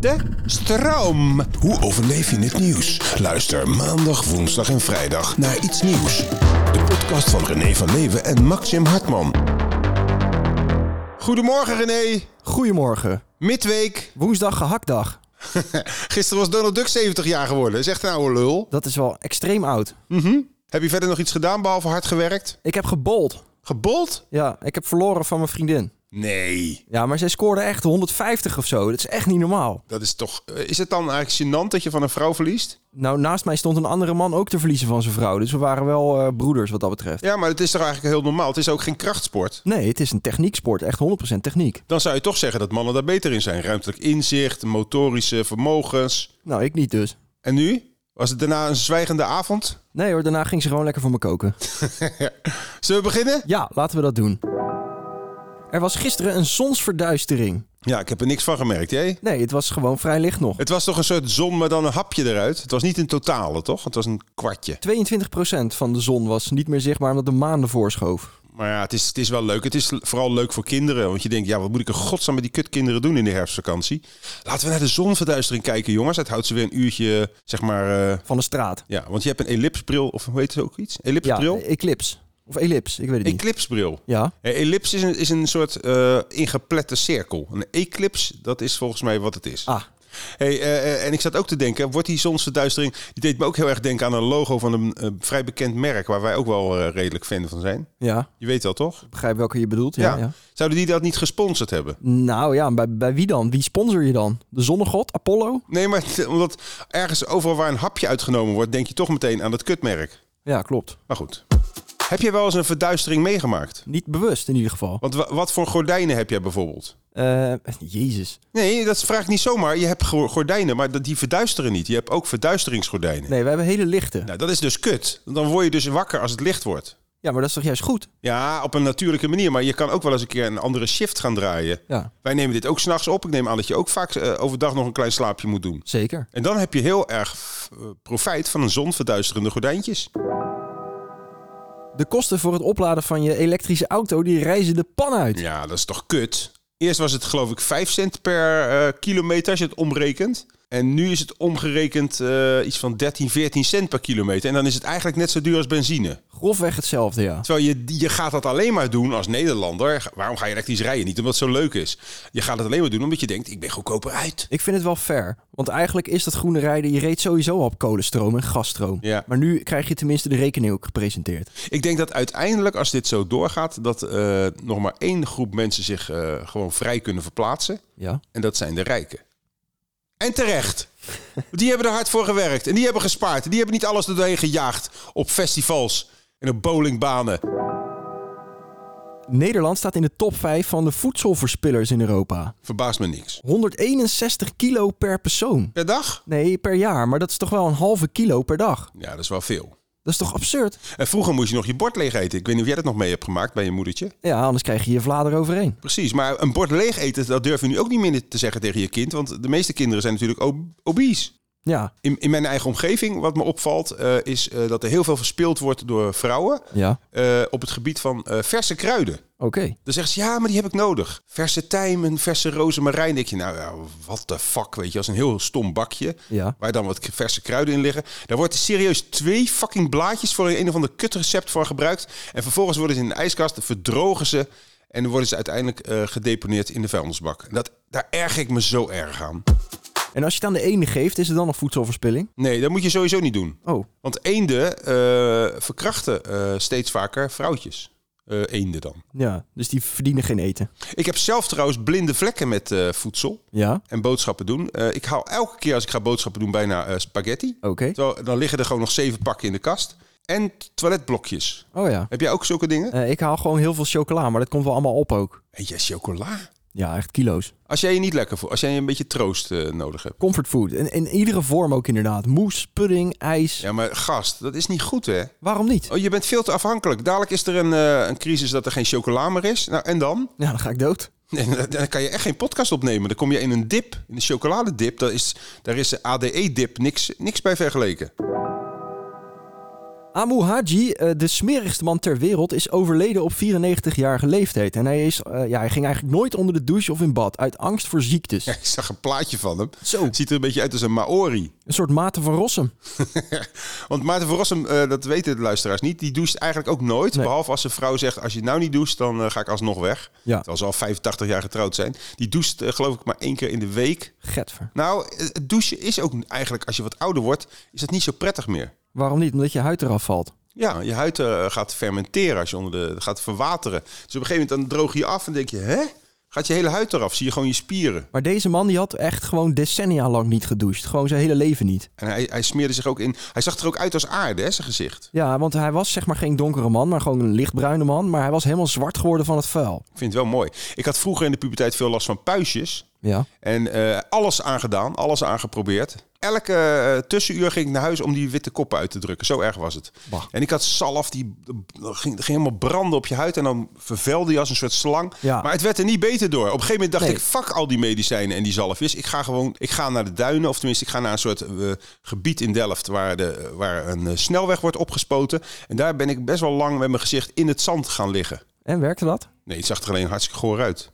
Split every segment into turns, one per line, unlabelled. De stroom.
Hoe overleef je het nieuws? Luister maandag, woensdag en vrijdag naar Iets Nieuws. De podcast van René van Leeuwen en Maxim Hartman.
Goedemorgen René.
Goedemorgen.
Midweek.
Woensdag gehaktdag.
Gisteren was Donald Duck 70 jaar geworden. Dat is echt een oude lul.
Dat is wel extreem oud.
Heb je verder nog iets gedaan behalve hard gewerkt?
Ik heb gebold.
Gebold?
Ja, ik heb verloren van mijn vriendin.
Nee.
Ja, maar zij scoorde echt 150 of zo. Dat is echt niet normaal.
Dat is toch... eh, Is het dan eigenlijk gênant dat je van een vrouw verliest?
Nou, naast mij stond een andere man ook te verliezen van zijn vrouw. Dus we waren wel eh, broeders wat dat betreft.
Ja, maar het is toch eigenlijk heel normaal. Het is ook geen krachtsport.
Nee, het is een technieksport. Echt 100% techniek.
Dan zou je toch zeggen dat mannen daar beter in zijn. Ruimtelijk inzicht, motorische vermogens.
Nou, ik niet dus.
En nu? Was het daarna een zwijgende avond?
Nee hoor, daarna ging ze gewoon lekker voor me koken.
Zullen we beginnen?
Ja, laten we dat doen. Er was gisteren een zonsverduistering.
Ja, ik heb er niks van gemerkt, jij?
Nee, het was gewoon vrij licht nog. 22%
Het was toch een soort zon, maar dan een hapje eruit. Het was niet een totale, toch? Het was een kwartje.
van de zon was niet meer zichtbaar omdat de maan ervoor schoof.
Maar ja, het is, het is wel leuk. Het is vooral leuk voor kinderen. Want je denkt, ja, wat moet ik in godsnaam met die kutkinderen doen in de herfstvakantie? Laten we naar de zonverduistering kijken, jongens. Het houdt ze weer een uurtje, zeg maar... eh,
Van de straat.
ja, want je hebt een ellipsbril, of hoe heet het ook iets?
Ja, eh,
Ellipsbril?
eclipse. Of ellips, ik weet het niet.
Eclipsbril.
Ja,
Eh, Ellips is een, is een soort eh, ingeplette cirkel. Een eclips, dat is volgens mij wat het is.
ah,
Hey, eh, eh, en ik zat ook te denken, wordt die zonsverduistering... Die deed me ook heel erg denken aan een logo van een eh, vrij bekend merk... waar wij ook wel eh, redelijk fan van zijn.
ja.
Je weet wel, toch?
Ik begrijp welke je bedoelt. Ja, ja.
Zouden die dat niet gesponsord hebben?
Nou ja, bij, bij wie dan? Wie sponsor je dan? De zonnegod? Apollo?
Nee, maar t- omdat ergens overal waar een hapje uitgenomen wordt... denk je toch meteen aan dat kutmerk.
Ja, klopt.
Maar goed. Heb jij wel eens een verduistering meegemaakt?
Niet bewust in ieder geval.
Want wa- wat voor gordijnen heb jij bijvoorbeeld?
Eh, jezus.
Nee, dat vraag ik niet zomaar. Je hebt go- gordijnen, maar dat- die verduisteren niet. Je hebt ook verduisteringsgordijnen.
Nee, we hebben hele lichte.
Nou, dat is dus kut. Dan word je dus wakker als het licht wordt.
Ja, maar dat is toch juist goed?
Ja, op een natuurlijke manier. Maar je kan ook wel eens een keer een andere shift gaan draaien.
Ja,
Wij nemen dit ook s'nachts op. Ik neem aan dat je ook vaak eh, overdag nog een klein slaapje moet doen.
zeker.
En dan heb je heel erg f- eh, profijt van een zonverduisterende gordijntjes.
De kosten voor het opladen van je elektrische auto, die reizen de pan uit.
Ja, dat is toch kut? Eerst was het geloof ik 5 cent per eh, kilometer als je het omrekent. En nu is het omgerekend eh, iets van 13, 14 cent per kilometer. En dan is het eigenlijk net zo duur als benzine.
Grofweg hetzelfde, ja.
Terwijl je, je gaat dat alleen maar doen als Nederlander. Waarom ga je elektrisch rijden? Niet omdat het zo leuk is. Je gaat het alleen maar doen omdat je denkt, ik ben goedkoper uit.
Ik vind het wel fair. Want eigenlijk is dat groene rijden, je reed sowieso al op kolenstroom en gasstroom.
Ja.
Maar nu krijg je tenminste de rekening ook gepresenteerd.
Ik denk dat uiteindelijk, als dit zo doorgaat, dat eh, nog maar één groep mensen zich eh, gewoon vrij kunnen verplaatsen.
Ja.
En dat zijn de rijken. En terecht. Want Die hebben er hard voor gewerkt. En die hebben gespaard. En die hebben niet alles er doorheen gejaagd. Op festivals en op bowlingbanen.
Nederland staat in de top 5 van de voedselverspillers in Europa.
Verbaast me niks.
161 kilo per persoon.
Per dag?
Nee, per jaar, maar dat is toch wel een halve kilo per dag.
Ja, dat is wel veel.
Dat is toch absurd?
En vroeger moest je nog je bord leeg eten. Ik weet niet of jij dat nog mee hebt gemaakt bij je moedertje.
Ja, anders krijg je je vlader overheen.
Precies, maar een bord leeg eten, dat durf je nu ook niet meer te zeggen tegen je kind. Want de meeste kinderen zijn natuurlijk ob- obese.
Ja,
In, in mijn eigen omgeving, wat me opvalt, eh, is eh, dat er heel veel verspild wordt door vrouwen
ja,
eh, op het gebied van eh, verse kruiden.
oké.
Dan zeggen ze, ja, maar die heb ik nodig. Verse tijmen, verse rozemarijn. Denk je, nou ja, wat de fuck, weet je. Als een heel stom bakje,
Ja.
waar dan wat k- verse kruiden in liggen. Daar wordt serieus twee fucking blaadjes voor een of ander kutrecept voor gebruikt. En vervolgens worden ze in de ijskast, verdrogen ze... En dan worden ze uiteindelijk eh, gedeponeerd in de vuilnisbak. En dat Daar erg ik me zo erg aan.
En als je het aan de ene geeft, is er dan nog voedselverspilling?
Nee, dat moet je sowieso niet doen.
Oh,
Want eenden eh, verkrachten eh, steeds vaker vrouwtjes. Eh, eenden dan.
ja. Dus die verdienen geen eten.
Ik heb zelf trouwens blinde vlekken met eh, voedsel
Ja,
en boodschappen doen. Eh, ik haal elke keer als ik ga boodschappen doen bijna eh, spaghetti.
oké.
Terwijl, dan liggen er gewoon nog zeven pakken in de kast. En toiletblokjes.
Oh ja.
Heb jij ook zulke dingen?
Eh, ik haal gewoon heel veel chocola, maar dat komt wel allemaal op ook.
En jij chocola?
Ja, echt kilo's.
Als jij je niet lekker voelt, als jij een beetje troost eh, nodig hebt.
Comfortfood. In, in iedere vorm ook inderdaad. Moes, pudding, ijs.
Ja, maar gast, dat is niet goed hè?
Waarom niet?
Oh, je bent veel te afhankelijk. Dadelijk is er een, eh, een crisis dat er geen chocola meer is. Nou, en dan?
Ja, dan ga ik dood.
Nee, dan- dan kan je echt geen podcast opnemen. Dan kom je in een dip, in een chocoladedip. Daar is, daar is de ADE-dip E niks, niks bij vergeleken.
Amu Haji, eh, de smerigste man ter wereld, is overleden op 94-jarige leeftijd. En hij, is, eh, ja, hij ging eigenlijk nooit onder de douche of in bad, uit angst voor ziektes.
Ja, ik zag een plaatje van hem.
Zo.
Het ziet er een beetje uit als een Maori.
Een soort mate van Rossum.
Want Maarten van Rossum, eh, dat weten de luisteraars niet, die doucht eigenlijk ook nooit.
Nee.
Behalve als zijn vrouw zegt, als je nou niet doucht, dan eh, ga ik alsnog weg.
Ja.
Terwijl ze al 85 jaar getrouwd zijn. Die doucht eh, geloof ik maar één keer in de week.
Getver.
Nou, eh, het douchen is ook eigenlijk, als je wat ouder wordt, is dat niet zo prettig meer.
Waarom niet? Omdat je huid eraf valt.
Ja, je huid eh, gaat fermenteren als je onder de gaat verwateren. Dus op een gegeven moment dan droog je af en denk je, hè? Gaat je hele huid eraf? Zie je gewoon je spieren?
Maar deze man die had echt gewoon decennia lang niet gedoucht. Gewoon zijn hele leven niet.
En hij, hij smeerde zich ook in. Hij zag er ook uit als aarde, hè, zijn gezicht.
Ja, want hij was zeg maar geen donkere man, maar gewoon een lichtbruine man. Maar hij was helemaal zwart geworden van het vuil.
Ik vind het wel mooi. Ik had vroeger in de puberteit veel last van puistjes.
Ja.
En eh, alles aangedaan, alles aangeprobeerd. Elke eh, tussenuur ging ik naar huis om die witte koppen uit te drukken. Zo erg was het.
Bah.
En ik had zalf, die eh, ging, ging helemaal branden op je huid. En dan vervelde je als een soort slang.
Ja.
Maar het werd er niet beter door. Op een gegeven moment dacht
Nee.
ik, fuck al die medicijnen en die zalfjes. Ik ga gewoon ik ga naar de duinen. Of tenminste, ik ga naar een soort eh, gebied in Delft... Waar, de, waar een eh, snelweg wordt opgespoten. En daar ben ik best wel lang met mijn gezicht in het zand gaan liggen.
En werkte dat?
Nee, het zag er alleen hartstikke goor uit.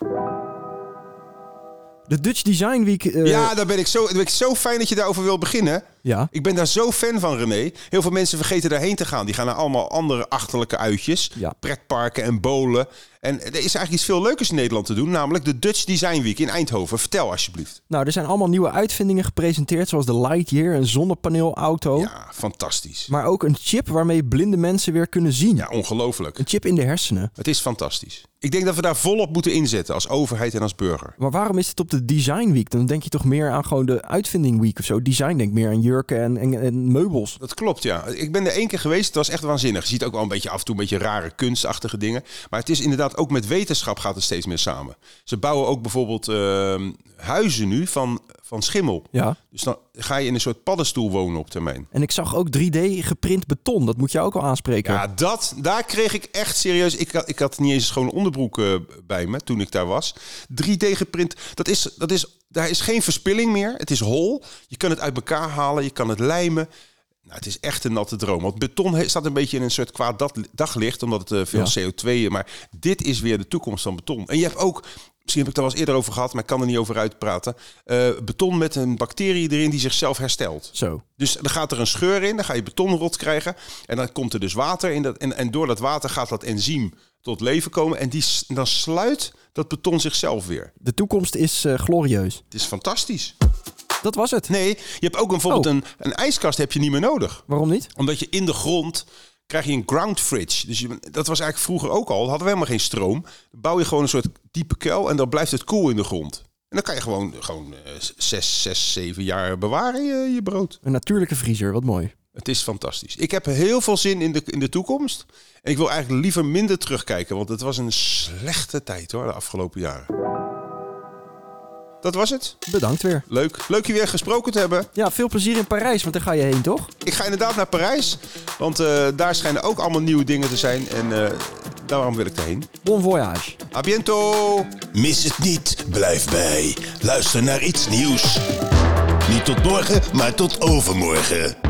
De Dutch Design Week. eh,
ja, daar ben ik, zo, daar ben ik zo fijn dat je daarover wil beginnen.
ja.
Ik ben daar zo fan van, René. Heel veel mensen vergeten daarheen te gaan. Die gaan naar allemaal andere achterlijke uitjes.
Ja.
Pretparken en bolen. En er is eigenlijk iets veel leukers in Nederland te doen. Namelijk de Dutch Design Week in Eindhoven. Vertel alsjeblieft.
Nou, er zijn allemaal nieuwe uitvindingen gepresenteerd, zoals de Lightyear, een zonnepaneelauto.
Ja, fantastisch.
Maar ook een chip waarmee blinde mensen weer kunnen zien.
Ja, ongelooflijk.
Een chip in de hersenen.
Het is fantastisch. Ik denk dat we daar volop moeten inzetten. Als overheid en als burger.
Maar waarom is het op de Design Week? Dan denk je toch meer aan gewoon de Uitvinding Week of zo. Design denk meer aan jurken en, en, en meubels.
Dat klopt, ja. Ik ben er één keer geweest. Het was echt waanzinnig. Je ziet ook wel een beetje af en toe een beetje rare kunstachtige dingen. Maar het is inderdaad ook met wetenschap gaat het steeds meer samen. Ze bouwen ook bijvoorbeeld ehm, huizen nu van, van schimmel.
Ja.
Dus dan ga je in een soort paddenstoel wonen op termijn.
En ik zag ook 3D geprint beton. Dat moet je ook al aanspreken.
Ja, dat, daar kreeg ik echt serieus. Ik, had- ik had niet eens een schone onderbroek eh, bij me toen ik daar was. 3D geprint, dat is, dat is, daar is geen verspilling meer. Het is hol. Je kan het uit elkaar halen, je kan het lijmen. Nou, het is echt een natte droom. Want beton he- staat een beetje in een soort kwaad dat- daglicht, omdat het eh, veel CO2. Maar dit is weer de toekomst van beton. En je hebt ook. Misschien heb ik daar wel eens eerder over gehad, maar ik kan er niet over uitpraten. eh, beton met een bacterie erin die zichzelf herstelt.
Zo.
Dus dan gaat er een scheur in, dan ga je betonrot krijgen. En dan komt er dus water in. Dat, en, en door dat water gaat dat enzym tot leven komen. En die, s- dan sluit dat beton zichzelf weer.
De toekomst is eh, glorieus.
Het is fantastisch.
Dat was het.
Nee, je hebt ook een, bijvoorbeeld een, een ijskast heb je niet meer nodig.
Waarom niet?
Omdat je in de grond krijg je een ground fridge. Dus je, dat was eigenlijk vroeger ook al. Hadden we helemaal geen stroom. Dan bouw je gewoon een soort diepe kuil en dan blijft het koel in de grond. En dan kan je gewoon, gewoon eh, zes, zes, zeven jaar bewaren je, je brood.
Een natuurlijke vriezer, wat mooi.
Het is fantastisch. Ik heb heel veel zin in de, in de toekomst. En ik wil eigenlijk liever minder terugkijken, want het was een slechte tijd hoor, de afgelopen jaren. Dat was het.
Bedankt weer.
Leuk. Leuk je weer gesproken te hebben.
Ja, veel plezier in Parijs, want daar ga je heen, toch?
Ik ga inderdaad naar Parijs, want eh, daar schijnen ook allemaal nieuwe dingen te zijn. En eh, daarom wil ik erheen.
Bon voyage.
A biento!
Mis het niet, blijf bij. Luister naar iets nieuws. Niet tot morgen, maar tot overmorgen.